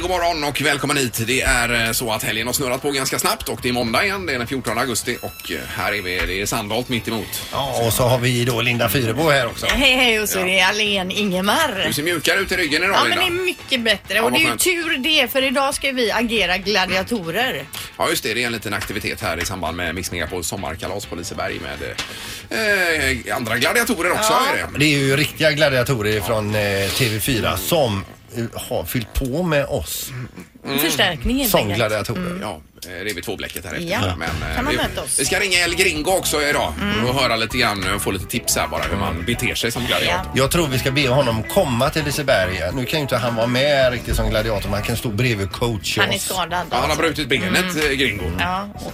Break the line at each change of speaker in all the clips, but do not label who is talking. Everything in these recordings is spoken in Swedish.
god morgon och välkommen hit. Det är eh, så att helgen har snurrat på ganska snabbt och det är måndag igen. Det är den 14 augusti och eh, här är vi. Det är Sandholt mitt emot.
Ja, och så har vi då Linda Fyrebo här också.
Hej hej och så är det Alen Ingemar.
Du ser mjukare ut i ryggen idag
Ja men
Linda.
det är mycket bättre
vad
och det är ju
skönt.
tur det för idag ska vi agera gladiatorer.
Ja just det, det är en liten aktivitet här i samband med Mix Megapols sommarkalas på Liseberg med eh, eh, andra gladiatorer också. Är det.
Det är ju riktiga gladiatorer från eh, TV4 som eh, har fyllt på med oss
Mm.
Förstärkning Mm. helt
som
enkelt. Mm.
gladiatorer.
Ja, eh, det är vi tvåblecket här efter.
Ja.
eh,
Kan man
vi,
möta oss? Mm.
vi ska ringa El Gringo också idag och höra lite grann och få lite tips här bara hur man beter sig som gladiator.
Jag tror vi ska be honom komma till Liseberg. Nu kan ju inte han vara med riktigt som gladiator, men han kan stå bredvid och coacha
Han är
oss.
skadad.
Ja, han har brutit benet,
Mm.
eh, Gringo.
Ja. och-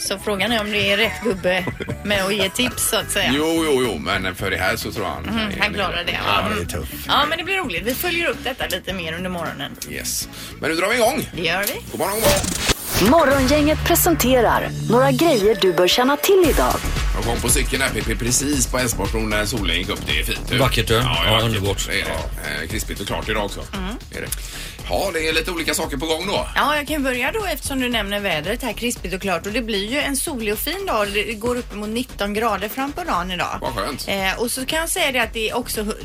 Så frågan är om det är rätt gubbe med att ge tips så att säga.
Jo, jo, jo, men för det här så tror jag han...
Mm, han klarar det.
Ja,
Ja.
det är tufft.
ja men det blir roligt. Vi följer upp detta lite mer under morgonen.
Yes. Men nu drar vi igång.
Det gör vi.
God morgon, god morgon.
Morgongänget presenterar några grejer du bör känna till idag.
Jag kom på cykeln här PP precis på Älvsborgsbron när solen gick upp. Det är fint. du.
Vackert, du.
Ja,
Ja,
vackert.
underbart.
Det är det. Eh, Krispigt och klart idag också.
Mm.
Är det. Ja, det är lite olika saker på gång då.
Ja, jag kan börja då eftersom du nämner vädret här krispigt och klart och det blir ju en solig och fin dag. Det går upp mot 19 grader fram på dagen idag.
Vad skönt.
Eh, och så kan jag säga det att det är också hu-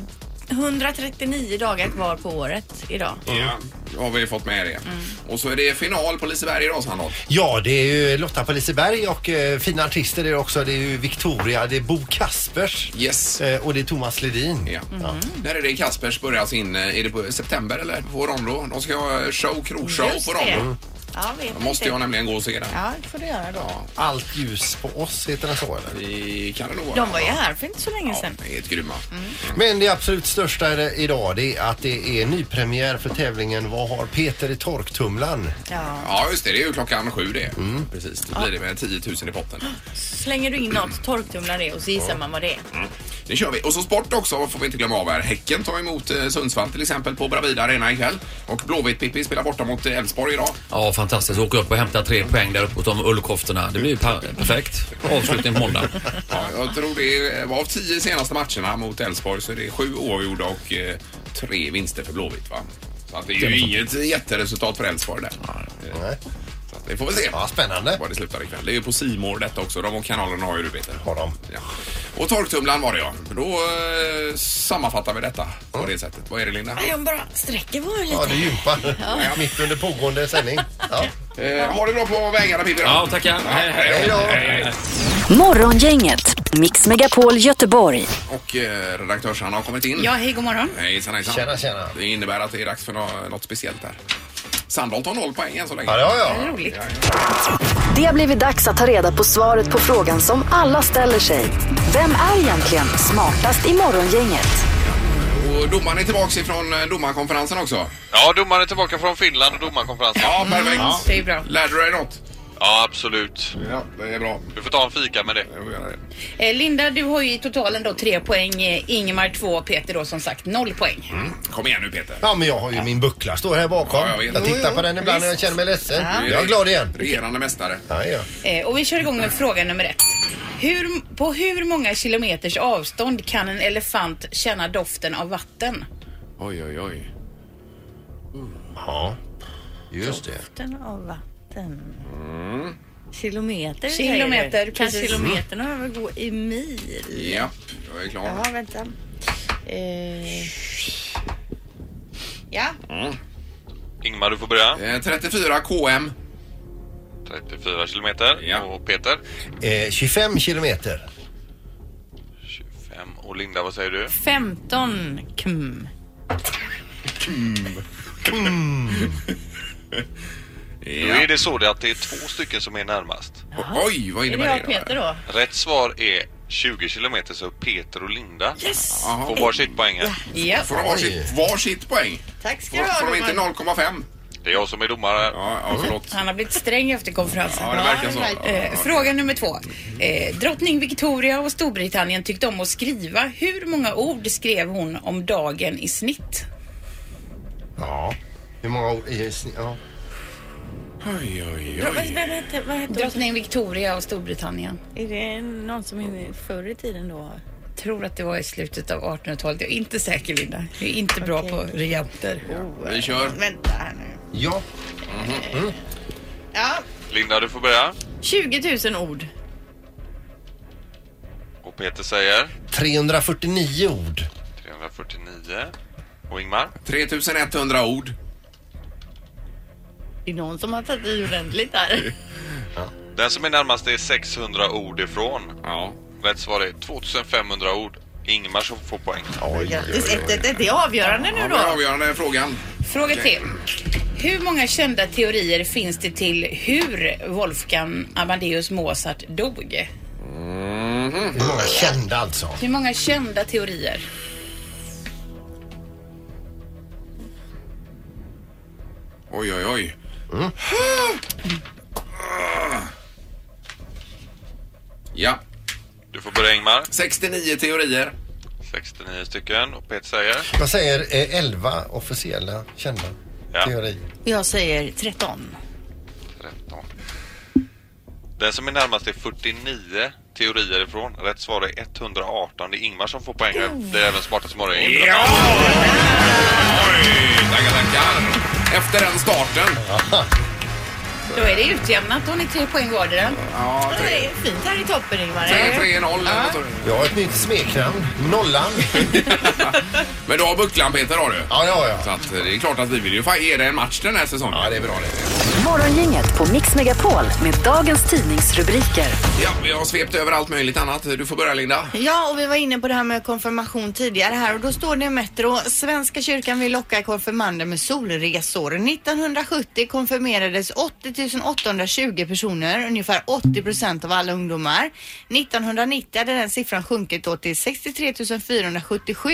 139 dagar kvar på året idag.
Ja, då har vi fått med det.
Mm.
Och så är det final på Liseberg idag, Sandholt.
Ja, det är ju Lotta på Liseberg och eh, fina artister är det också. Det är ju Victoria, det är Bo Kaspers
Yes.
eh, och det är Thomas Ledin.
Ja.
Mm.
När är det Kaspers börjar sin... eh, Är det på september eller på Rondo? De ska ha show, krogshow
Just
på
det.
Rondo.
Ja, vet
Då måste
inte.
jag nämligen gå och se den.
Ja, det får du göra då.
Ja.
Allt ljus på oss, heter den så eller?
I, kan det nog vara.
De var ju här för inte så länge
Ja,
sedan.
det är ett grymma.
Men det absolut största är det idag det är att det är nypremiär för tävlingen Vad har Peter i torktumlaren?
Ja.
Ja, just det. Det är ju klockan sju det. Mm, Precis. Då blir det med 10 000 i potten.
Slänger du in något, torktumlar det och så gissar man vad det är.
Det kör vi. Och så sport också får vi inte glömma av här. Häcken tar emot eh, Sundsvall till exempel på Bravida Arena ikväll. Och Blåvitt-Pippi spelar borta mot eh, Elfsborg idag.
Ja, fantastiskt. Åka upp och hämta tre poäng där uppe hos de ullkoftorna. Det blir ju per- perfekt avslutning på måndag.
Ja, jag tror det var av tio senaste matcherna mot Elfsborg så är det sju oavgjorda och eh, tre vinster för Blåvitt va? Så att det är ju inget jätteresultat för Elfsborg där. Eh,
Nej.
Så att vi får väl se.
Ja, spännande.
Var det slutar ikväll. Det är ju på Simor detta också. De och kanalerna har ju du Peter.
Har de.
Ja. Och torktumlaren var det ja. Då eh, sammanfattar vi detta
Mm.
på det sättet. Vad är det Linda?
Nej, de bara sträcker på mig
Ja,
lite.
det gympar. Mitt under pågående sändning. Ja.
Eh, har du bra på vägarna Pippi? då?
Ja, tackar. Hej, hej.
Hej då.
Morgongänget, Mix Megapol Göteborg.
Och eh, redaktörsarna har kommit in.
Ja, hej, god morgon.
Hejsan hejsan.
Tjena, tjena.
Det innebär att det är dags för nå- något speciellt där. Sandholt har noll poäng än så länge.
Ja, det har jag.
Roligt.
Det har blivit dags att ta reda på svaret på frågan som alla ställer sig. Vem är egentligen smartast i morgongänget?
Och domaren är tillbaka ifrån eh, domarkonferensen också.
Ja, domaren är tillbaka från Finland och domarkonferensen.
Ja,
Mm.
perfekt.
Det är bra.
Lärde du dig något?
Ja, absolut.
Ja, det är bra.
Du får ta en fika med det.
Jag får göra det.
Eh, Linda, du har ju i totalen då tre poäng. eh, Ingemar två och Peter då som sagt noll poäng.
Kom igen nu Peter.
Ja, men jag har ju min buckla står här bakom.
Ja, jag
jag,
vet. Jo,
tittar
jo,
på den ibland när jag känner mig ledsen. Jag är glad igen.
Regerande mästare.
Ja, ja.
Eh, och vi kör igång med fråga nummer ett. Hur, på hur många kilometers avstånd kan en elefant känna doften av vatten?
Oj, oj, oj.
ja. Just det.
Vatten av vatten. Kilometer säger
Kilometer,
du. Kan
precis.
kilometerna väl gå i mil?
Japp, jag är klar.
Ja, vänta. Eh,
Ja,
Ingmar, du får börja.
Eh, 34 KM.
34 kilometer.
Ja.
Och Peter?
Eh, 25 kilometer.
25. Och Linda, vad säger du?
15 km.
Nu
Ja.
är det så det att det är två stycken som är närmast.
Oj, vad
Är det
innebär
jag
det?
och Peter då?
Rätt svar är 20 kilometer, så Peter och Linda
Yes!
får
Jaha.
varsitt poäng här.
ja.
Får de varsitt, varsitt poäng?
Tack ska
Får,
du ha.
får de inte
Robert.
0,5?
Det är jag som är domare.
Ja, ja, förlåt.
Han har blivit sträng efter konferensen.
Ja, det verkar så.
Eh, fråga nummer två. Eh, drottning Victoria och Storbritannien tyckte om att skriva. Hur många ord skrev hon om dagen i snitt?
Ja. Hur många ord? i snitt? Ja.
Oj, oj,
Vad, vad
oj.
hette, vad hette hon?
Drottning Victoria och Storbritannien.
Är det någon som är förr i tiden då?
Tror att det var i slutet av 1800-talet. Jag är inte säker Linda. Jag är inte bra på regianter.
Vi kör.
Vänta här nu.
Ja.
Ja,
Linda, du får börja.
20 000 ord.
Och Peter säger
349 ord.
349. Och Ingmar?
3100 ord.
Det är någon som har tagit i ordentligt där.
Den som är närmast är 600 ord ifrån.
Ja.
Rätt svar är 2500 ord. Ingmar som får poäng.
Grattis, ett, ett, ett. Det är avgörande
Ja,
nu
men
då.
avgörande frågan.
Fråga till. Hur många kända teorier finns det till hur Wolfgang Amadeus Mozart dog?
Det är många kända alltså.
Hur många kända teorier?
Oj, oj, oj. Mm. Ja,
Du får börja Ingmar.
69 teorier.
69 stycken. Och Peter säger?
Jag säger eh, 11 officiella kända
Ja.
teorier.
Jag säger 13.
13. Den som är närmast är 49 teorier ifrån. Rätt svar är 118. Det är Ingmar som får poäng. Det är även smartast morgon.
Ja! Oj, tackar, tackar. Efter den starten.
Då är det utjämnat. Då har ni tre poäng vardera.
Ja,
Ja, Det är fint här i toppen Ingmar.
3-3-0.
Jag har ett nytt smeknamn. Nollan.
Men du har bucklan Peter har du.
Ja, ja,
Så
ja.
att eh, det är klart att vi vill ju fa- ge dig en match den här säsongen.
Ja, det är bra det.
Morgongänget på Mix Megapol med dagens tidningsrubriker.
Ja, vi har svept över allt möjligt annat. Du får börja Linda.
Ja, och vi var inne på det här med konfirmation tidigare här och då står det i Metro Svenska kyrkan vill locka konfirmander med solresor. 1970 konfirmerades 80 820 personer, ungefär 80 procent av alla ungdomar. 1990 hade den siffran sjunkit då till 63 477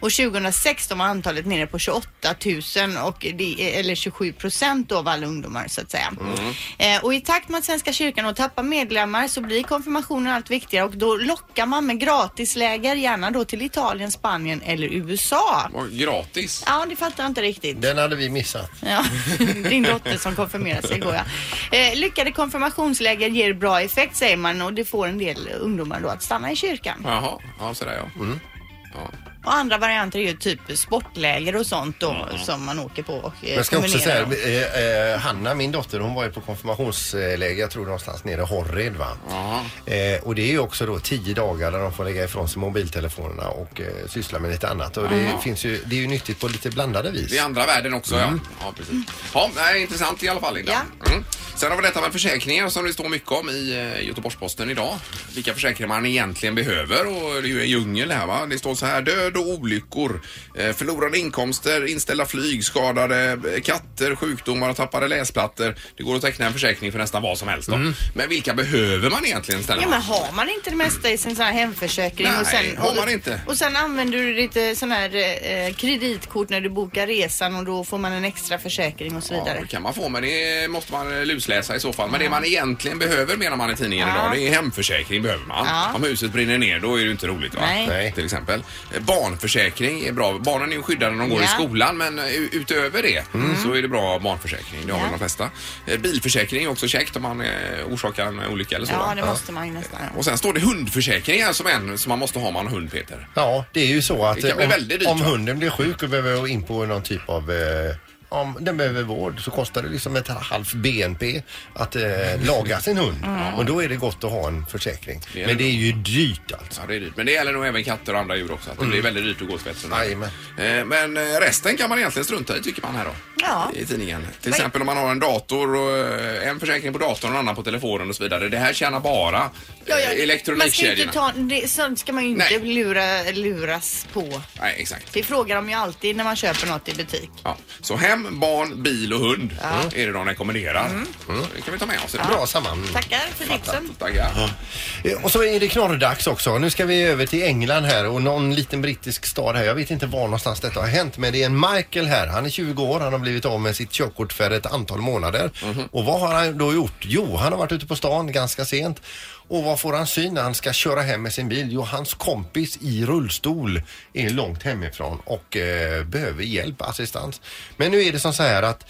och 2016 var antalet nere på 28 000 och det, eller 27 procent då av alla ungdomar så att säga. Eh, och i takt med att Svenska kyrkan då tappar medlemmar så blir konfirmationen allt viktigare och då lockar man med gratisläger gärna då till Italien, Spanien eller USA.
Och Gratis.
Ja, det fattar jag inte riktigt.
Den hade vi missat.
Ja, din dotter som konfirmerade sig igår ja. Eh, lyckade konfirmationsläger ger bra effekt säger man och det får en del ungdomar då att stanna i kyrkan.
Jaha, ja, sådär ja.
Mm.
ja.
Och andra varianter är ju typ sportläger och sånt då som man åker på och eh,
Jag ska också
kombinerar
säga,
dem.
eh, eh, Hanna, min dotter, hon var ju på konfirmationsläger, jag tror någonstans nere i Horred va.
Ja.
Eh, och det är ju också då tio dagar där de får lägga ifrån sig mobiltelefonerna och eh, syssla med lite annat. Och det, finns ju, det är ju nyttigt på lite blandade vis.
I andra världen också,
Mm.
ja. Ja, precis. Ja, det är intressant i alla fall, Linda. Mm. Sen har vi detta med försäkringar som det står mycket om i eh, Göteborgs-Posten idag. Vilka försäkringar man egentligen behöver och det är ju en djungel här va. Det står så här, död och olyckor, eh, förlorade inkomster, inställda flyg, skadade eh, katter, sjukdomar och tappade läsplattor. Det går att teckna en försäkring för nästan vad som helst då. Men vilka behöver man egentligen ställa?
Mm. Ja men har man inte det mesta i sin sån här hemförsäkring och
Nej,
sen,
har man inte.
Och, och sen använder du ditt sån här eh, kreditkort när du bokar resan och då får man en extra försäkring och så
Ja,
vidare.
det kan man få, men det måste man eh, lusläsa i så fall. Men det man egentligen behöver menar man i tidningen idag, det är hemförsäkring behöver man.
Ja.
Om huset brinner ner då är det ju inte roligt va?
Nej.
Nej.
Till exempel. Eh, Barnförsäkring är bra. Barnen är ju skyddade när de går i
Ja. Mm.
skolan men eh, u- utöver det så är det bra barnförsäkring. Det har
Ja.
väl de flesta. Eh, Bilförsäkring är också käckt om man eh, orsakar en olycka eller så. va?
Ja, det måste man ju nästan.
Och sen står det hundförsäkring här som en som man måste ha om man har hund Peter.
Ja, det är ju så att
Det kan bli
eh, om,
väldigt dyrt,
om
va?
hunden blir sjuk och behöver gå in på någon typ av eh, om den behöver vård så kostar det liksom ett halvt BNP att eh, laga sin hund. Och då är det gott att ha en försäkring.
Mm. Det är
Men
det
det är ju dyrt alltså.
Ja, det är dyrt. Men det gäller nog även katter och andra djur också. Att det blir väldigt dyrt att gå till veterinären.
Jajamän.
Eh, Men eh, resten kan man egentligen strunta i tycker man här då.
Ja.
I tidningen. Till exempel om man har en dator och eh, en försäkring på datorn och en annan på telefonen och så vidare. Det här tjänar bara eh,
Ja, ja, man ska ju
elektronikkedjorna.
inte ta, det, sånt ska man ju inte
Nej.
lura, luras på.
Nej, exakt.
Det frågar de ju alltid när man köper något i butik.
Ja. Så hem, barn, bil och hund är det de rekommenderar.
Mm.
Det kan vi ta med oss.
Bra sammanhang.
Tackar för tipsen.
Tackar.
Eh, Och så är det knorrdags också. Nu ska vi över till England här och någon liten brittisk stad här. Jag vet inte var någonstans detta har hänt men det är en Michael här. Han är 20 år, han har blivit av med sitt körkort för ett antal månader. Och vad har han då gjort? Jo, han har varit ute på stan ganska sent Och vad får han syn när han ska köra hem med sin bil? Jo, hans kompis i rullstol är långt hemifrån och eh, behöver hjälp, assistans. Men nu är det som så här att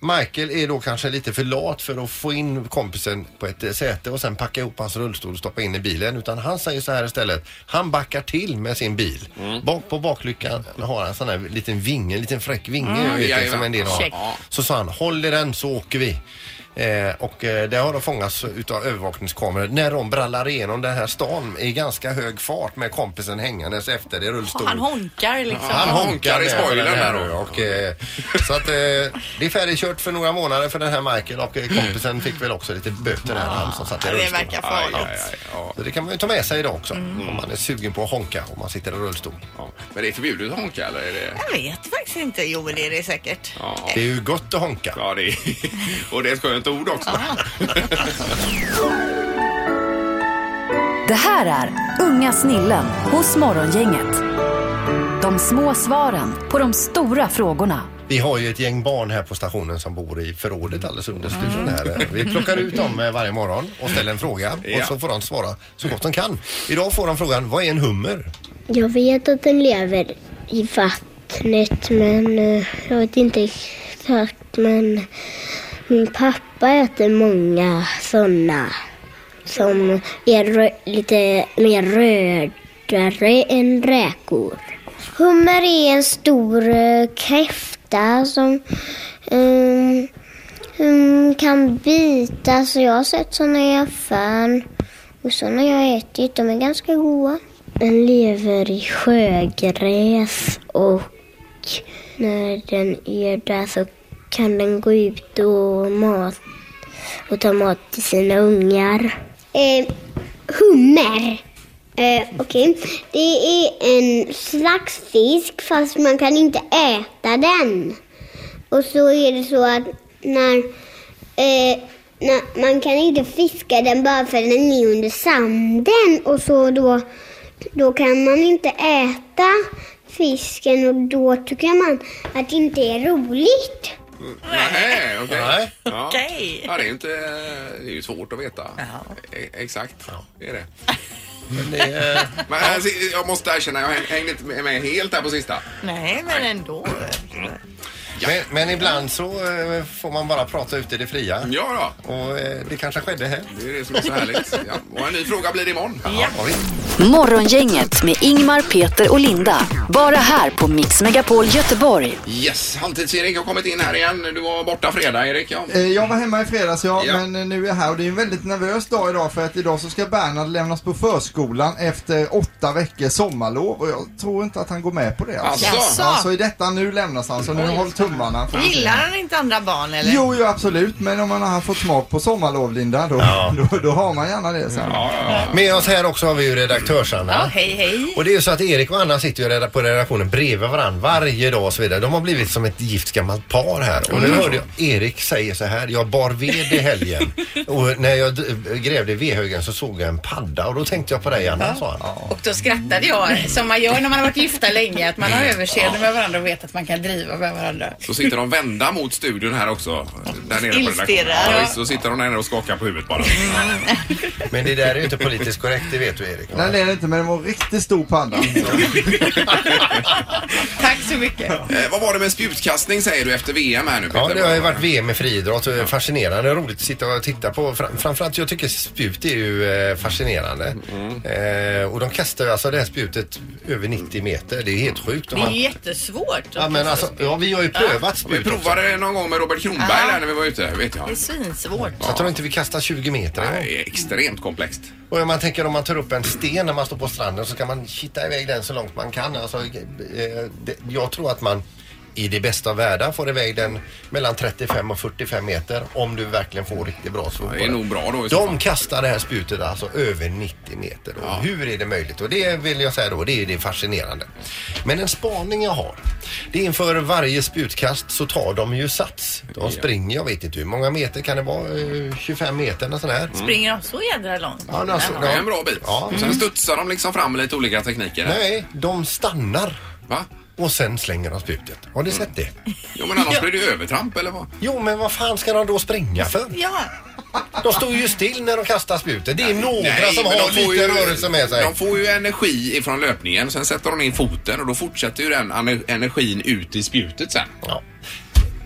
Michael är då kanske lite för lat för att få in kompisen på ett eh, säte och sen packa ihop hans rullstol och stoppa in i bilen. Utan han säger så här istället. Han backar till med sin bil. Bak, på baklyckan har han en sån här liten vinge, en liten fräck vinge du vet,
jajamän.
som en del har.
Check.
Så sa han, håll i den så åker vi. Eh, och eh, det har de fångats utav övervakningskameror när de brallar igenom den här stan i ganska hög fart med kompisen hängandes efter i rullstol.
Han honkar liksom.
Han honkar
honkar i
med
spoilern
den här
där då.
Och, eh, så att eh, det är färdigkört för några månader för den här Michael och eh, kompisen fick väl också lite böter här han som satt i
Det
rullstol.
verkar
Aj, aj,
farligt.
aj, ja.
Så det kan man ju ta med sig idag också om man är sugen på att honka om man sitter i rullstol.
Ja. Men det är förbjudet att honka eller? Är det...
Jag vet faktiskt inte. Jo, men det är det säkert.
Ja.
Det är ju gott att honka.
ja, det är... Och det är ett skönt ord också.
Det här är Unga snillen hos Morgongänget. De små svaren på de stora frågorna.
Vi har ju ett gäng barn här på stationen som bor i förrådet alldeles under studion här. Vi plockar ut dem eh, varje morgon och ställer en fråga och
Ja.
så får de svara så gott de kan. Idag får de frågan, vad är en hummer?
Jag vet att den lever i vattnet men eh, jag vet inte exakt men min pappa äter många sådana som är rö- lite mer rödare än räkor. Hummer är en stor eh, kräfta som ehm, Mm, kan bita, så jag har sett såna i affären. Och såna jag har ätit, de är ganska goda. Den lever i sjögräs och när den är där så kan den gå ut och, mat, och ta mat till sina ungar. Eh, hummer. Eh, Okej, det är en slags fisk fast man kan inte äta den. Och så är det så att när, eh, när man kan inte fiska den bara för den är under sanden och så då, då kan man inte äta fisken och då tycker man att det inte är roligt.
Nej, okej.
Nej.
Ja.
Okej.
Ja, det är ju inte... Det är ju svårt att veta. E exakt, det är det.
Men det är,
Men alltså, jag måste erkänna, jag häng- hängde inte med- med helt där på sista.
Nej, men ändå.
men, men ibland så eh, får man bara prata ute i det fria.
Ja, då.
Och eh, det kanske skedde här.
Det är det som är så härligt. Ja. Och en ny fråga blir det imorgon.
Ja, visst.
Morgongänget med Ingmar, Peter och Linda. Bara här på Mix Megapol Göteborg.
Yes, Halvtids-Erik har kommit in här igen. Du var borta fredag, Erik. Ja.
Eh, Jag var hemma i fredags ja,
Ja.
men eh, nu är jag här och det är en väldigt nervös dag idag för att idag så ska Bernhard lämnas på förskolan efter åtta veckor sommarlov och jag tror inte att han går med på det. Alltså.
Alltså,
Ja, så i detta nu lämnas han, så nu håll tummarna. Får vi se.
Gillar han inte andra barn eller?
Jo, jo absolut, men om man har fått smak på sommarlov Linda, då, då, då har man gärna det sen.
Med oss här också har vi ju redaktörs-Anna.
Ja, hej hej.
Och det är ju så att Erik och Anna sitter ju reda- på redaktionen bredvid varandra varje dag och så vidare. De har blivit som ett gift gammalt par här. Och nu hörde jag Erik säga så här, jag bar ved i helgen och när jag d- grävde i vedhögen så såg jag en padda och då tänkte jag på dig Anna, sa han.
Och då skrattade jag som man gör när man har varit gifta länge, att man har överseende med varandra och vet att man kan driva med varandra.
så sitter de vända mot studion här också. Där nere på redaktionen.
Illstirrar.
Ja, visst, så sitter de där nere och skakar på huvudet bara.
Men det där är ju inte politiskt korrekt, det vet du Erik. va?
Nej, det är det inte, men det var en riktigt stor panda.
Tack så mycket.
Eh, vad var det med spjutkastning säger du efter VM här nu Peter?
Ja, det har ju varit VM i friidrott. och Fascinerande roligt att sitta och titta på. Fram- Framförallt jag tycker spjut är ju eh, fascinerande. Eh, och de kastar ju alltså det här spjutet över 90 meter. Det är helt sjukt. Och
Det är
man-
ju jättesvårt.
Ja, men alltså, ja, vi har ju prövat
Vi
spjut också.
provade det någon gång med Robert Kronberg där när vi var ute, vet jag.
Det är svinsvårt.
Så jag tror inte vi kastar 20 meter. en gång.
Det är extremt komplext.
Och om man tänker om man tar upp en sten när man står på stranden så kan man kitta iväg den så långt man kan. Alltså, eh, det- jag tror att man i det bästa av världar får iväg den mellan 35 och 45 meter om du verkligen får riktigt bra svung på
Det är
den.
nog bra då i så fall.
De kastar det här spjutet alltså över 90 meter. Och Hur är det möjligt? Och det vill jag säga då, det är det är fascinerande. Men en spaning jag har, det är inför varje spjutkast så tar de ju sats. De springer, jag vet inte hur många meter kan det vara? Eh, 25 meter eller sån här.
Mm.
Springer de så jädra långt?
Ja, men alltså,
Det är
ja.
en bra bit.
Ja.
Och Sen studsar de liksom fram med lite olika tekniker. här.
Nej, de stannar
Va?
och sen slänger de spjutet. Har
Mm.
ni sett det?
Jo men annars blir det ju övertramp eller vad?
Jo, men vad fan ska de då springa för?
Ja,
De står ju still när de kastar spjutet. Det är några
Nej,
som
men
har
de får
lite
ju-
rörelse med sig.
De får ju energi ifrån löpningen, sen sätter de in foten och då fortsätter ju den ener- energin ut i spjutet sen.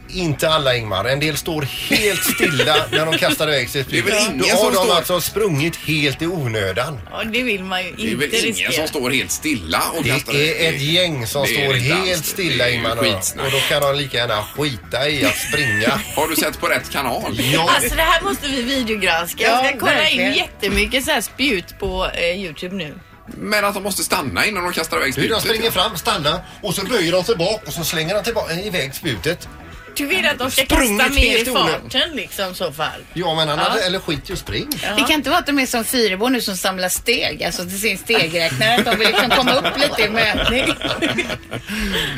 Inte alla Ingmar. En del står helt stilla när de kastar iväg sitt
Det är
spjut.
väl
Då
ingen
har
som
de
står-
alltså sprungit helt i onödan.
Ja, det vill man ju inte
Det är väl ingen som står helt stilla och kastar
Det är ett gäng som
Det är
står
det inte
helt
alls.
stilla
Det är ju
Ingmar. Och
skitsnack.
då kan de lika gärna skita i att springa.
Har du sett på rätt kanal?
Ja.
Alltså det här måste vi videogranska. Jag
Ja,
ska kolla in
verkligen.
jättemycket så här spjut på eh, Youtube nu.
Men att de måste stanna innan de kastar iväg
Hur
spjutet.
de springer fram, stannar och så böjer de sig bak och så slänger de tillbaka, iväg spjutet.
Du vill att de ska
Sprungit
kasta mer i
helt i onödan.
farten liksom i så fall?
Ja men annars,
Ja.
eller skit ju spring.
Det kan inte vara att de är som Fyrebo nu som samlar steg, alltså till sin stegräknare. Att de vill liksom komma upp lite i mätning.
Ja.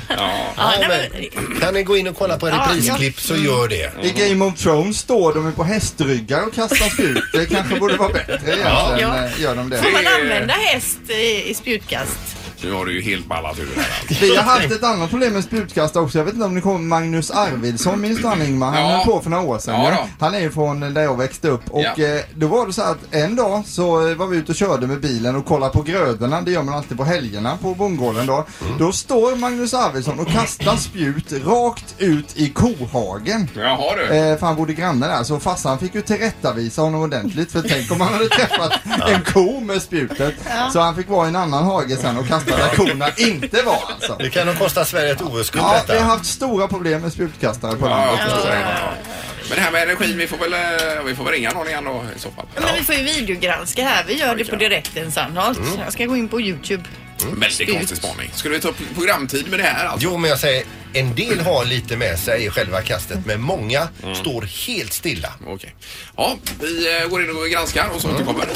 Ja,
Ja,
nej, men,
men, kan ni gå in och kolla på reprisklipp så gör det.
I Game of Thrones står de ju på hästryggar och kastar spjut. Det kanske borde vara bättre egentligen.
Ja.
eh, Gör de det.
får man använda häst i, i spjutkast?
Nu har du ju helt ballat ur det här. alltså.
Vi har haft ett annat problem med spjutkastare också. Jag vet inte om ni kommer ihåg Magnus Arvidsson, minns du han Ingmar? Han
Ja.
höll på för några år sedan.
Ja,
ja.
då.
Han är ju från där jag växte upp. Och
Ja.
eh, då var det så att en dag så eh, var vi ute och körde med bilen och kollade på grödorna. Det gör man alltid på helgerna på bondgården då. Då står Magnus Arvidsson och kastar spjut rakt ut i kohagen.
Jaha du.
Eh, för han bodde granne där, så farsan fick ju tillrättavisa honom ordentligt. För tänk om han hade träffat en ko med spjutet. Så han fick vara i en annan hage sen och kasta där korna inte var alltså.
Det kan nog kosta Sverige ett OS-guld
Ja, vi har
detta.
haft stora problem med spjutkastare på
Ja,
landet.
jag förstår det. Men det här med energin, vi får väl, eh, vi får väl ringa någon igen då i så fall.
Ja. Men vi får ju videogranska här. Vi gör det på direkten Sandholt. Jag ska gå in på Youtube.
Väldigt konstig spaning. Skulle vi ta upp programtid med det här alltså?
Jo men jag säger, en del har lite med sig i själva kastet men många står helt stilla.
Okej. Ja, vi eh, går in och granskar och så återkommer.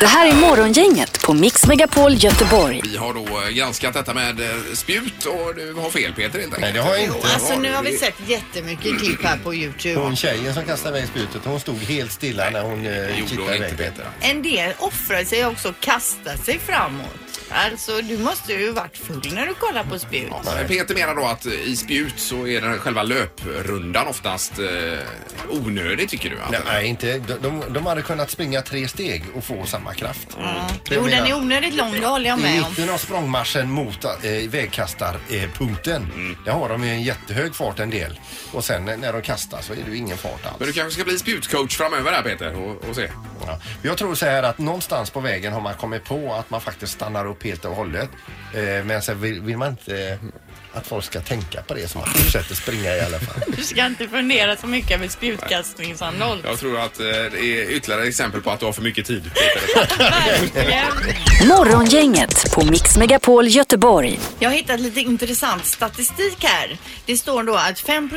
Det här är Morgongänget på Mix Megapol Göteborg.
Vi har då eh, granskat detta med eh, spjut och du har fel Peter helt enkelt.
Nej det har jag inte.
Alltså nu har vi
Det-
sett jättemycket klipp här på Youtube.
Hon tjejen som kastade iväg spjutet hon stod helt stilla när hon
Det
eh,
gjorde
tittade
hon inte
iväg.
Peter.
En del offrar sig också och kastar sig framåt. Alltså du måste ju varit full när du kollar på spjut.
Ja, men Peter menar då att eh, i spjut så är den själva löprundan oftast eh, onödig tycker du? Att,
Nej, inte. De, de, de hade kunnat springa tre steg och få samma kraft. Det
Jo
menar-
den är onödigt lång, det håller jag
I
med om.
mitten av språngmarschen mot eh, vägkastarpunkten, där har de ju en jättehög fart en del. Och sen eh, när de kastar så är det ju ingen fart alls.
Men du kanske ska bli spjutcoach framöver här Peter och, och se.
Ja. Jag tror så här att någonstans på vägen har man kommit på att man faktiskt stannar upp helt och hållet. Eh, men sen vill, vill man inte eh, att folk ska tänka på det så man fortsätter springa i alla fall.
Du ska inte fundera så mycket över spjutkastning Sandholt.
Jag tror att eh, det är ytterligare exempel på att du har för mycket tid.
Verkligen.
Morgongänget på Mix Megapol Göteborg.
Jag har hittat lite intressant statistik här. Det står då att 5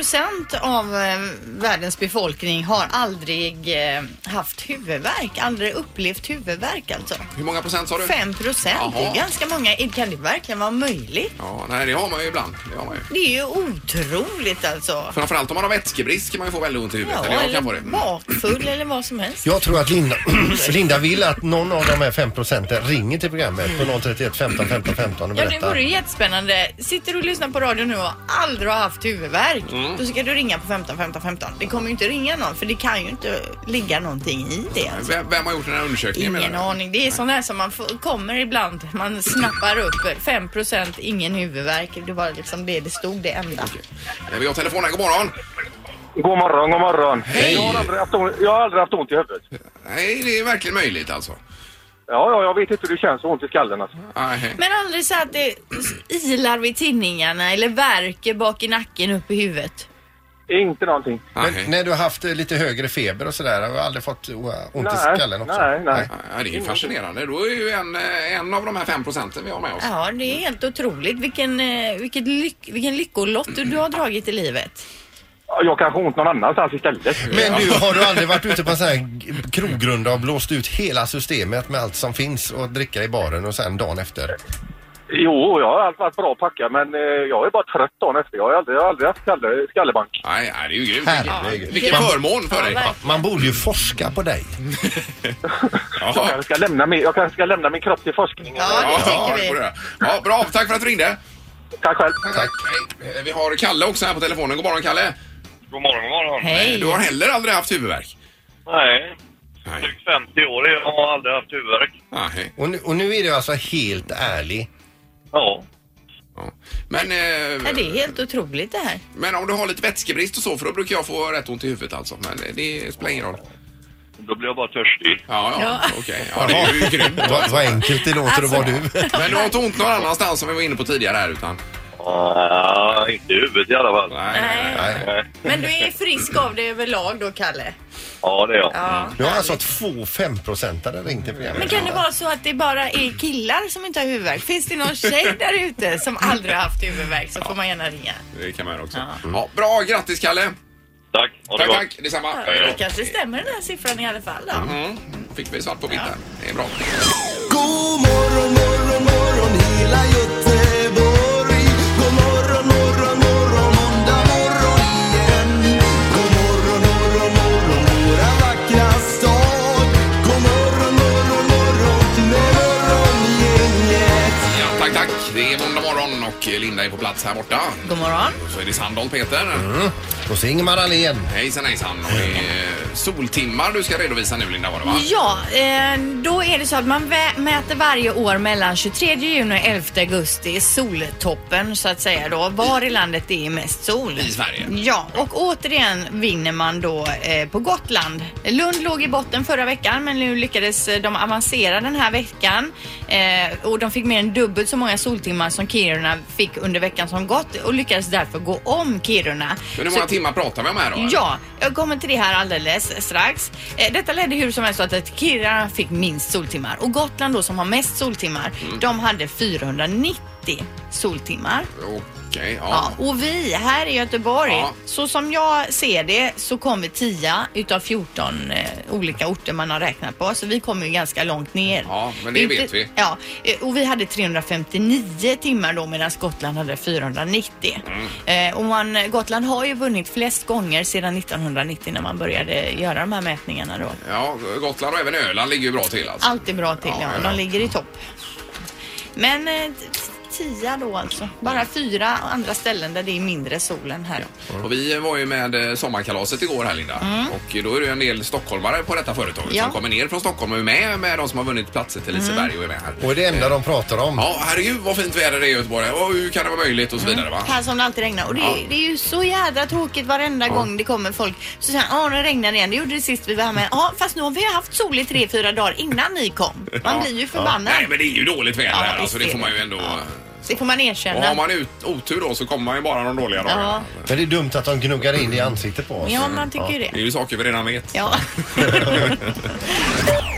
av eh, världens befolkning har aldrig eh, haft huvudvärk, aldrig upplevt huvudvärk alltså.
Hur många procent sa du?
5 procent, det
Jaha.
är ganska många. Kan det verkligen vara möjligt?
Ja, nej, det har man ju ibland. Det har man ju.
Det är ju otroligt alltså.
Framförallt om man har vätskebrist kan man ju få väldigt ont i huvudet.
Ja,
eller jag kan få det.
eller bakfull eller vad som helst.
Jag tror att Linda, Linda vill att någon av de här 5 procenten ringer till programmet på 031 15 15 15 och
Ja, det
berättar.
vore ju jättespännande. Sitter du och lyssnar på radio nu och aldrig har haft huvudvärk, då ska du ringa på 15 15 15. Det kommer ju inte ringa någon för det kan ju inte ligga någonting i det. Alltså.
Vem, vem har gjort den här undersökningen? menar
Ingen
du?
aning. Det är sån där som man får, kommer ibland. Man snappar upp 5 ingen huvudvärk. Det var liksom det det stod, det enda.
Eh, Vi har telefonen. God morgon!
God morgon, god morgon. Jag, har aldrig haft ont, jag har aldrig haft ont i huvudet.
Nej, det är verkligen möjligt alltså.
Ja, ja, jag vet inte hur det känns att ha ont i skallen alltså.
Nej.
Men aldrig så att det ilar vid tinningarna eller värker bak i nacken upp i huvudet.
Inte någonting.
nej.
Men när du har haft eh, lite högre feber och sådär, har du aldrig fått eh, ont i
Nej,
skallen också?
nej, nej.
Ja, det är ju fascinerande. Då är ju en, eh, en av de här fem procenten vi har med oss.
Ja, det är helt otroligt vilken, eh, vilket lyck, vilken lyckolott du har dragit i livet.
Ja, Jag kanske har ont någon annanstans istället.
Men du, har du aldrig varit ute på en sån här g- krogrunda och blåst ut hela systemet med allt som finns och dricka i baren och sen dagen efter?
Jo, jag har alltid varit bra packad men eh, jag är bara trött dagen efter. Jag har aldrig, jag har aldrig haft skalle, skallebank.
Nej, nej, det är ju grymt.
Herregud.
Vilken förmån för dig.
Ja, Man borde ju forska på dig.
Jag
Ja,
kanske ska lämna min, jag kanske ska lämna min kropp till forskning.
Ja, det
ja,
tänker
det
vi.
får du. ja, bra, tack för att du ringde.
Tack själv.
Tack. Hej. Eh, Vi har Kalle också här på telefonen. God morgon Kalle.
God morgon, god morgon.
Hej!
Du har heller aldrig haft huvudvärk?
Nej. Drygt 50 år jag har aldrig haft huvudvärk.
Ah,
Och nu, och nu är du alltså helt ärlig?
Ja.
Men, eh,
Ja, det är helt otroligt det här.
men om du har lite vätskebrist och så, för då brukar jag få rätt ont i huvudet alltså. Men det, det spelar ingen roll.
Då blir jag bara törstig.
Ja, ja,
Ja.
okej. Ja, det är ju grymt.
Vad, vad enkelt det låter att vara du.
Men du har inte ont någon annanstans som vi var inne på tidigare här utan?
Ja, inte i huvudet i alla fall.
Nej,
nej, nej.
Men du är frisk av det överlag då, Kalle?
Ja, det är jag.
Ja.
Du har alltså två femprocentare ringt i programmet.
Men kan det vara så att det bara är killar som inte har huvudvärk? Finns det någon tjej där ute som aldrig har haft huvudvärk så får man gärna ringa.
Det kan man göra också. Ja, bra, grattis Kalle! Tack!
Ha det
tack,
gott.
tack! Detsamma!
Ja, det kanske stämmer den här siffran i alla fall då.
Mm. Fick vi svart på vitt där. Det är bra.
God morgon, morgon, morgon hela Göteborg. God morgon, morgon, morgon, måndag morgon igen. God morgon, morgon, morgon, våra vackra stad. God morgon, morgon, morgon med morgongänget.
Ja, tack, tack! Det är måndag morgon och Linda är på plats här borta.
God morgon!
Och så är det Sandholt Peter.
Mm. Och så Ingemar Ahlén.
Hejsan hejsan! Och det är eh, soltimmar du ska redovisa nu Linda var det va?
Ja, eh, då är det så att man vä- mäter varje år mellan 23 juni och 11 augusti soltoppen så att säga då. Var i landet det är mest sol.
I Sverige.
Ja, och återigen vinner man då eh, på Gotland. Lund låg i botten förra veckan men nu lyckades eh, de avancera den här veckan eh, och de fick mer än dubbelt så många soltimmar som Kiruna fick under veckan som gått och lyckades därför gå om Kiruna.
Men
Så-
hur många timmar pratar vi om här då? eller?
Ja, jag kommer till det här alldeles strax. Eh, Detta ledde hur som helst så att Kiruna fick minst soltimmar och Gotland då som har mest soltimmar, de hade 490 soltimmar.
Okej,
Ja,
ja.
och vi här i Göteborg,
Ja.
så som jag ser det så kommer 10 utav 14 eh, olika orter man har räknat på. Så vi kommer ju ganska långt ner.
Ja, men det
Inte-
vet vi.
Ja, eh, och vi hade 359 timmar då medan Gotland hade 490.
Mm.
Eh, och man, Gotland har ju vunnit flest gånger sedan 1990 när man började göra de här mätningarna då.
Ja, Gotland och även Öland ligger ju bra till alltså.
Alltid bra till, ja.
ja.
De ligger i topp. Men eh, t- tia då alltså. Bara fyra andra ställen där det är mindre sol än här.
Och vi var ju med eh, sommarkalaset igår här Linda.
Mm.
Och då är det ju en del stockholmare på detta företaget
Ja. Mm.
som kommer ner från Stockholm och är med med de som har vunnit platser till Liseberg och är med här.
Och det enda de pratar om.
Ja, herregud vad fint väder det är i Göteborg. Och hur kan det vara möjligt och så
Mm.
vidare va?
Här som det alltid regnar. Och det,
Ja.
det är ju så jädra tråkigt varenda
Ja.
gång det kommer folk. Så säger han, ja nu regnar det igen. Det gjorde det sist vi var här med. Ja fast nu har vi haft sol i tre, fyra dagar innan ni kom. Man
Ja.
blir ju förbannad.
Nej men det är ju dåligt väder
Ja,
här
visst
alltså. Det
är
får
det.
man ju ändå...
Det får man
Och har
erkänna.
man ut, otur då så kommer man ju bara de dåliga dagarna.
Ja.
Men det är dumt att de gnuggar in i ansiktet på oss.
Ja, man tycker ju det.
Det är ju saker vi redan vet.
Ja.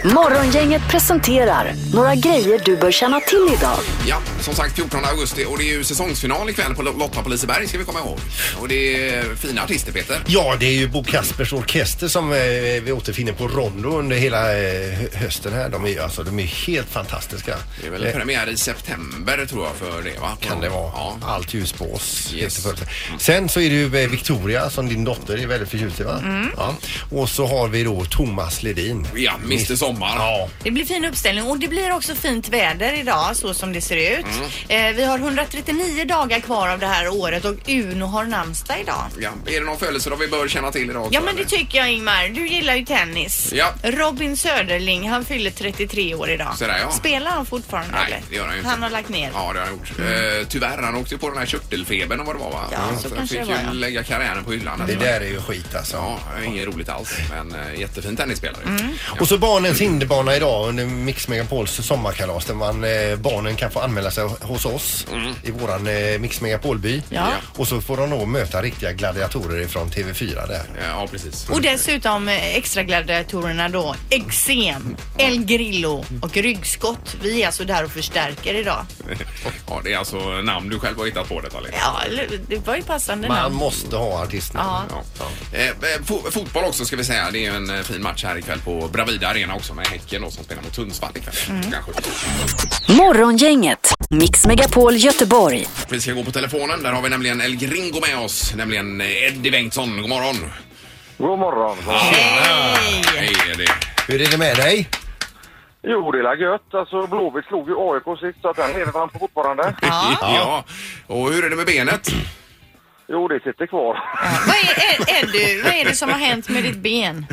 Morgongänget presenterar några grejer du bör känna till idag.
Ja, som sagt 14 augusti och det är ju säsongsfinal ikväll på Lotta på Liseberg ska vi komma ihåg. Och det är fina artister Peter.
Ja, det är ju Bo Kaspers orkester som eh, vi återfinner på Rondo under hela eh, hö- hösten här. De är ju alltså, de är helt fantastiska.
Det är väl
Eh,
premiär i september tror jag för det va?
Kan det vara.
Ja.
Allt ljus på oss.
Yes. Mm.
heter företaget. Sen så är det ju eh, Victoria som din dotter är väldigt förtjust i va?
Mm.
Ja. Och så har vi då Thomas Ledin.
Ja, Mr Sommar.
Ja.
Det blir fin uppställning och det blir också fint väder idag så som det ser ut.
Mm.
Eh, vi har 139 dagar kvar av det här året och Uno har namnsdag idag.
ja. Är det någon födelsedag vi bör känna till idag?
Ja
också,
men det
eller?
tycker jag Ingmar. Du gillar ju tennis.
Ja.
Robin Söderling, han fyller 33 år idag.
Så där, ja.
Spelar han fortfarande
Nej,
eller?
det gör han ju inte.
Han har lagt ner.
Ja, det har han gjort. Eh, tyvärr, han åkte ju på den här körtelfebern och vad det var va?
Ja, så
han
kanske
fick
det var,
ju
ja.
lägga karriären på hyllan.
Det där är ju skit alltså.
Ja, inget roligt alls. Men eh, jättefin tennisspelare.
Mm.
Och så barnens hinderbana idag under Mix Megapols sommarkalas där man, eh, barnen kan få anmäla sig hos oss
Mm.
i våran eh, Mix Megapolby.
Ja.
Och så får de då möta riktiga gladiatorer ifrån TV4 där.
Ja, precis.
Och dessutom eh, extragladiatorerna då, eksem, El Grillo och ryggskott. Vi är alltså där och förstärker idag.
ja, det är alltså namn du själv har hittat på detta Linda.
Ja, eller- det var ju passande
Man
namn.
måste ha artistnamn.
Ja.
Ja. Eh, eh, fo- fotboll också ska vi säga. Det är ju en eh, fin match här ikväll på Bravida Arena också med Häcken då, som spelar mot Sundsvall ikväll. Klockan 17.
Morgongänget, Mix Megapol Göteborg.
Vi ska gå på telefonen. Där har vi nämligen El Gringo med oss, nämligen eh, Eddie Bengtsson. God morgon!
God morgon.
Hej! Hej Eddie!
Hur är det med dig?
Jo, det är la gött. Alltså, Blåvitt slog ju AIK sist, så att den lever han på fortfarande.
Ja. Och hur är det med benet?
Jo, det sitter kvar.
Vad är, är, är du, vad är det som har hänt med ditt ben?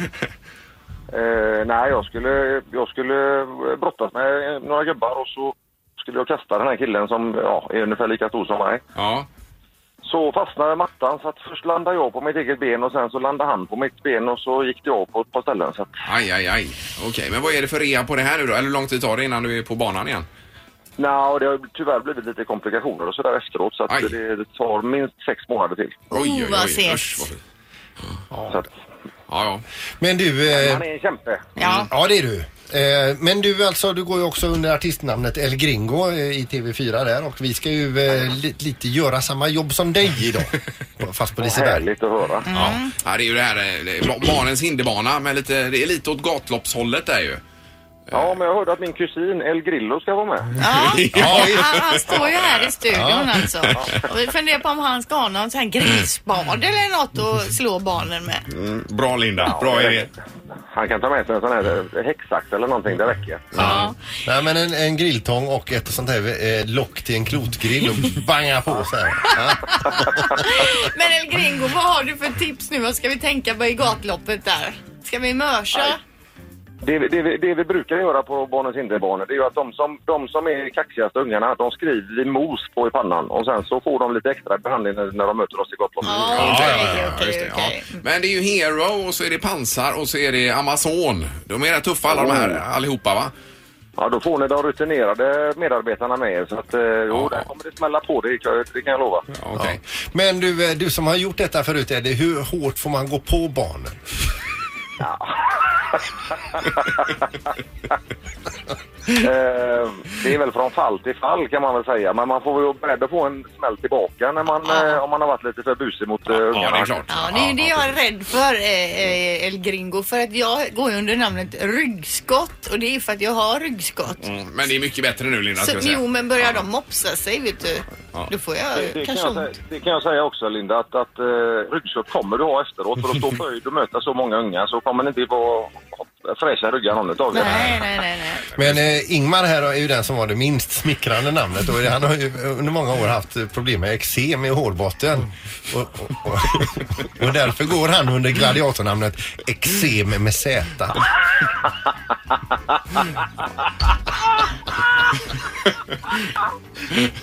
Eh, nej, jag skulle, jag skulle eh, brottas med några gubbar och så skulle jag kasta den här killen som ja, är ungefär lika stor som mig.
Ja.
Så fastnade mattan så att först landade jag på mitt eget ben och sen så landade han på mitt ben och så gick det av på ett par ställen. Så att,
Aj, aj, aj. Okej, men vad är det för rea på det här nu då? Eller hur lång tid tar det innan du är på banan igen?
nej, det har tyvärr blivit lite komplikationer och sådär efteråt så att det, det tar minst sex månader till.
Oh,
Oj, oj, oj. Usch, Oh, vad fint.
Så att,
ja, ja.
Men du... Eh,
Han är en kämpe.
ja. ja, det är du. Eh, men du alltså, du går ju också under artistnamnet El Gringo eh, i TV4 där och vi ska ju eh, li, lite göra samma jobb som dig idag. Fast på Liseberg.
Härligt att höra.
Ja. ja, det är ju det här eh, det- ba- barnens hinderbana, men lite, det är lite åt gatloppshållet där ju.
Ja, men jag hörde att min kusin El Grillo ska vara med.
Ja,
Han, han står ju här i studion
Ja.
alltså. Och vi funderar på om han ska ha någon sån här grisspade eller något att slå barnen med.
Mm, Bra Linda, bra
det
idé.
Han kan ta med sig en sån här häxax eller någonting, det räcker.
Ja. Nej men en, en grilltång och ett sånt här eh, lock till en klotgrill och banga på så här. Ja.
Men El Gringo, vad har du för tips nu? Vad ska vi tänka på i gatloppet där? Ska vi mörsa?
Det, vi- det, vi- det vi brukar göra på Barnens hinderbanor det är ju att de som, de som är kaxigaste ungarna, de skriver vi mos på i pannan och sen så får de lite extra behandling när, när de möter oss i Gotland.
Ja, ja, ja, just det, ja. Men det är ju Hero och så är det pansar och så är det Amazon. De är rätt tuffa alla de här, allihopa va?
Ja, då får ni de rutinerade medarbetarna med er så att eh, jo, där kommer det smälla på, det, kan- det kan jag lova.
Men du, eh, du som har gjort detta förut Eddie, hur hårt får man gå på barnen?
Eh, det är väl från fall till fall kan man väl säga, men man får ju vara beredd att få en smäll tillbaka när man, eh, om man har varit lite för busig mot eh, ungarna.
det är klart.
Ja, det är ju det jag är rädd för, eh, eh, El Gringo. För att jag går ju under namnet ryggskott och det är för att jag har ryggskott.
Mm, Men det är mycket bättre nu Linda ska
Så,
jag
jo,
säga.
men börjar de mopsa sig, vet du,
Ja.
då får
Det, det, kan
jag kanske
jag
ont.
säga, det kan jag säga också Linda, att, att eh, ryggskott kommer du ha efteråt. För att stå böjd och möta så många unga så kommer det inte vara fräscha ryggar någon utav er.
Nej, nej, nej. nej.
Men eh, Ingmar här är ju den som var det minst smickrande namnet och han har ju under många år haft eh, problem med eksem i hårbotten. Och, och, och, och därför går han under gladiatornamnet Eksem med Z.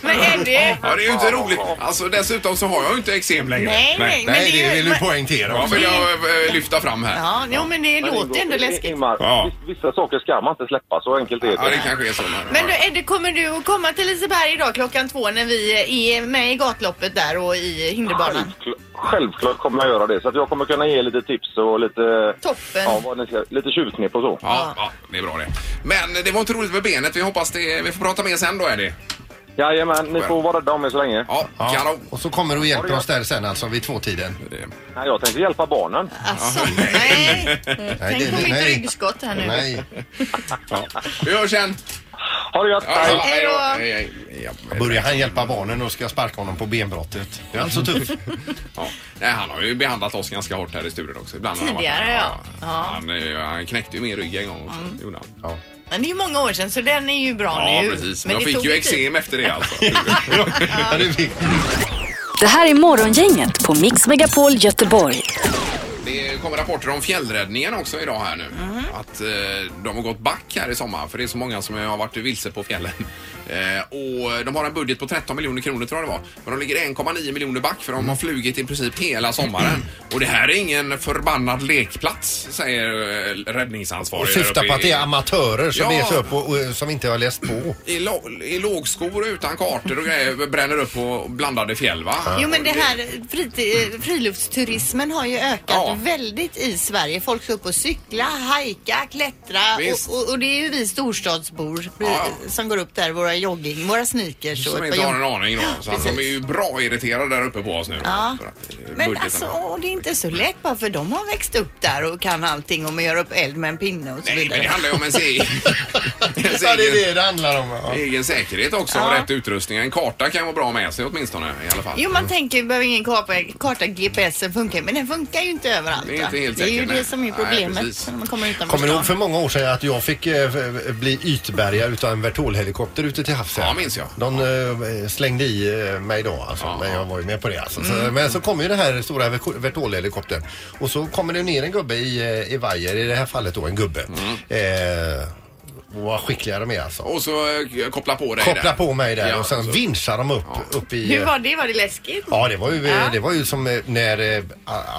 Men Eddie!
Ja, det är ju inte roligt. Alltså dessutom så har jag ju inte eksem längre.
Nej, nej, men Nej, det det är- vill du men-
poängtera
Ja,
också.
vill jag eh, lyfta fram här.
Ja, jo, men det
Men
låter
Ingo,
ändå läskigt.
Ingmar, vis- vissa saker ska man inte släppa, så enkelt är det.
Ja, det kanske är så.
Men du, Eddie, kommer du att komma till Liseberg idag klockan två när vi är med i gatloppet där och i hinderbanan?
Självklart kommer jag göra det, så att jag kommer kunna ge lite tips och lite...
Toppen.
Ja, vad ni ska, lite tjuvknep och så.
Ja, ja, det är bra det. Men det var inte roligt med benet. Vi hoppas det, vi får prata mer sen då är det.
Jajamän, ni får vara rädda om er så länge.
Ja,
Ja. Och så kommer du och hjälper oss där sen alltså vid tvåtiden.
Nej, jag tänkte hjälpa barnen.
Alltså, nej. Tänk på
det-
mitt
nej.
ryggskott här nu.
Nej.
Ja. Vi hörs sen.
Ha det gött.
Ja,
Hej då.
Hej, hej. Ja,
Börjar han hjälpa barnen och ska jag sparka honom på benbrottet. Det är alltså
Mm.
tufft.
ja. Nej, han har ju behandlat oss ganska hårt här i studion också. Ibland har han varit-
Tidigare, ja. ja.
Han, eh, han knäckte ju min rygg en gång också. Det gjorde han. Ja.
Men det är ju många år sedan så den är ju bra nu.
precis. Men jag
det
fick
tog
ju
tid.
eksem efter det alltså.
Det här är Morgongänget på Mix Megapol Göteborg.
Det kommer rapporter om fjällräddningen också idag här nu.
Mhm.
Att eh, de har gått back här i sommar för det är så många som har varit vilse på fjällen. Eh, och de har en budget på 13 miljoner kronor tror jag det var. Men de ligger 1,9 miljoner back för de har flugit i princip hela
Mm.
sommaren. Och det här är ingen förbannad lekplats säger eh, räddningsansvarig.
Och
där
syftar
uppe
på att det är amatörer som
Ja.
reser upp och, och som inte har läst på.
i, i, lo- i lågskor utan kartor och grejer bränner upp på blandade fjäll va?
Jo men det här frit- eh, friluftsturismen har ju ökat
Ja.
väldigt i Sverige. Folk ska upp och cykla, hajka, klättra
Visst.
och, och, och det är ju vi storstadsbor eh, som går upp där, våra jogging, våra sneakers och
Som
ett
inte
par
har
jogg-
en aning då. Så att de är ju bra irriterade där uppe på oss nu.
Ja.
För att, eh,
Men
budgeten-
alltså, åh, det är inte så lätt bara för de har växt upp där och kan allting och man gör upp eld med en pinne och så
Nej,
vidare.
men det handlar ju om ens egen... ens
Ja, det är
egen-
det det handlar om. Ja.
Egen säkerhet också och rätt utrustning. En karta kan vara bra med sig åtminstone i alla fall.
Jo, man tänker vi behöver ingen karta, karta GPSen funkar, men den funkar ju inte överallt.
Det är är inte helt
det är ju
säker, nej.
det som är
Nej,
problemet
precis.
när man kommer utanför
Kommer du ihåg
stan.
för många år sedan att jag fick eh, f- bli ytbergare utav en Vertol-helikopter ute till havs? Ja, minns jag. De eh, slängde i eh, mig då alltså, men jag var ju med på det alltså. Så,
Mm.
Men så kommer ju den här stora Vert- Vertol-helikoptern och så kommer det ner en gubbe i, eh, i vajer, i det här fallet då en gubbe. Eh, och vad skickliga de är alltså.
Och så eh, koppla på dig
Koppla
där.
på mig där
Ja,
och sen
så-
vinschar de upp, upp i...
Hur
eh,
var det? Var det läskigt?
Ja, det var ju,
Ja.
det var ju som eh, när eh,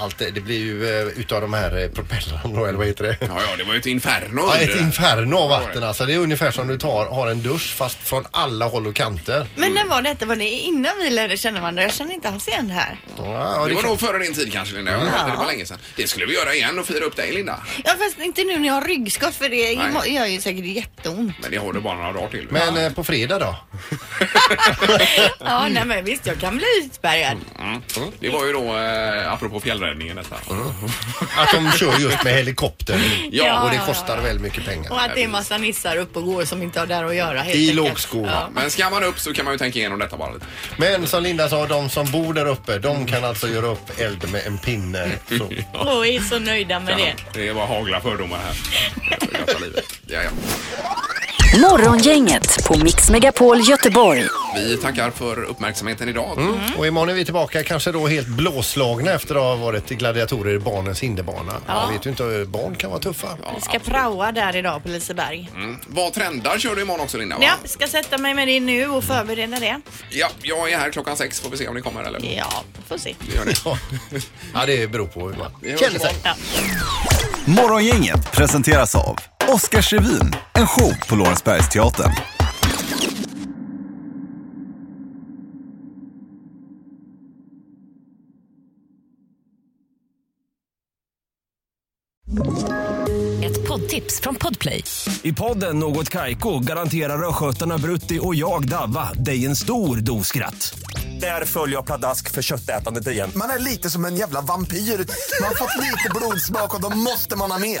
allt det, det blir ju eh, utav de här eh, propellrarna då, eller vad heter det?
Ja, ja, det var ju ett inferno.
Ja,
under
ett
det.
inferno av
Ja, det.
vatten alltså. Det är ungefär som du tar, har en dusch fast från alla håll och kanter.
Mm.
Men när var detta? Var det innan vi lärde känna varandra? Jag känner inte alls igen det här.
Ja,
det var
kan-
nog före din tid kanske Linda. Jag
Mm.
hörde Det
Ja.
var länge sedan. Det skulle vi göra igen och fira upp dig Linda.
Ja fast inte nu när jag har ryggskott för det
Nej.
gör ju säkert jätteont.
Men det har du bara några dagar till.
Men eh, på fredag då?
Ja, nej men visst jag kan bli utbärgad.
Mm. Det var ju då, eh, apropå fjällräddningen detta.
Mm. Att de kör just med helikopter.
Ja,
och det
ja,
kostar väldigt mycket pengar.
Och att det är massa nissar upp och går som inte har där att göra helt
I
enkelt.
lågskor.
Ja.
Men ska man upp så kan man ju tänka igenom detta bara lite.
Men som Linda sa, de som bor där uppe, de kan alltså göra upp eld med en pinne. Så.
Och är så nöjda med det.
Det är bara hagla fördomar här. Gata livet. Ja, ja.
Morgongänget på Mix Megapol Göteborg.
Vi tackar för uppmärksamheten idag.
Mm. Och imorgon är vi tillbaka kanske då helt blåslagna efter att ha varit gladiatorer i barnens hinderbana.
Ja.
Jag vet ju inte, barn kan vara tuffa.
Vi ska praoa där idag på Liseberg.
Mm. Vad trendar kör du imorgon också Linda? Va?
Ja, ska sätta mig med det nu och förbereda det.
ja. Jag är här klockan sex, får vi se om ni kommer eller?
Ja, får se.
Gör ni?
ja, det beror på hur man
Det
känner sig.
Morgongänget presenteras av Oscarsrevyn, en show på Lorensbergsteatern.
Ett poddtips från Podplay.
I podden Något Kaiko garanterar östgötarna Brutti och jag, Davva, dig en stor dos skratt. Där följer jag pladask för köttätandet igen.
Man är lite som en jävla vampyr. Man har fått lite blodsmak och då måste man ha mer.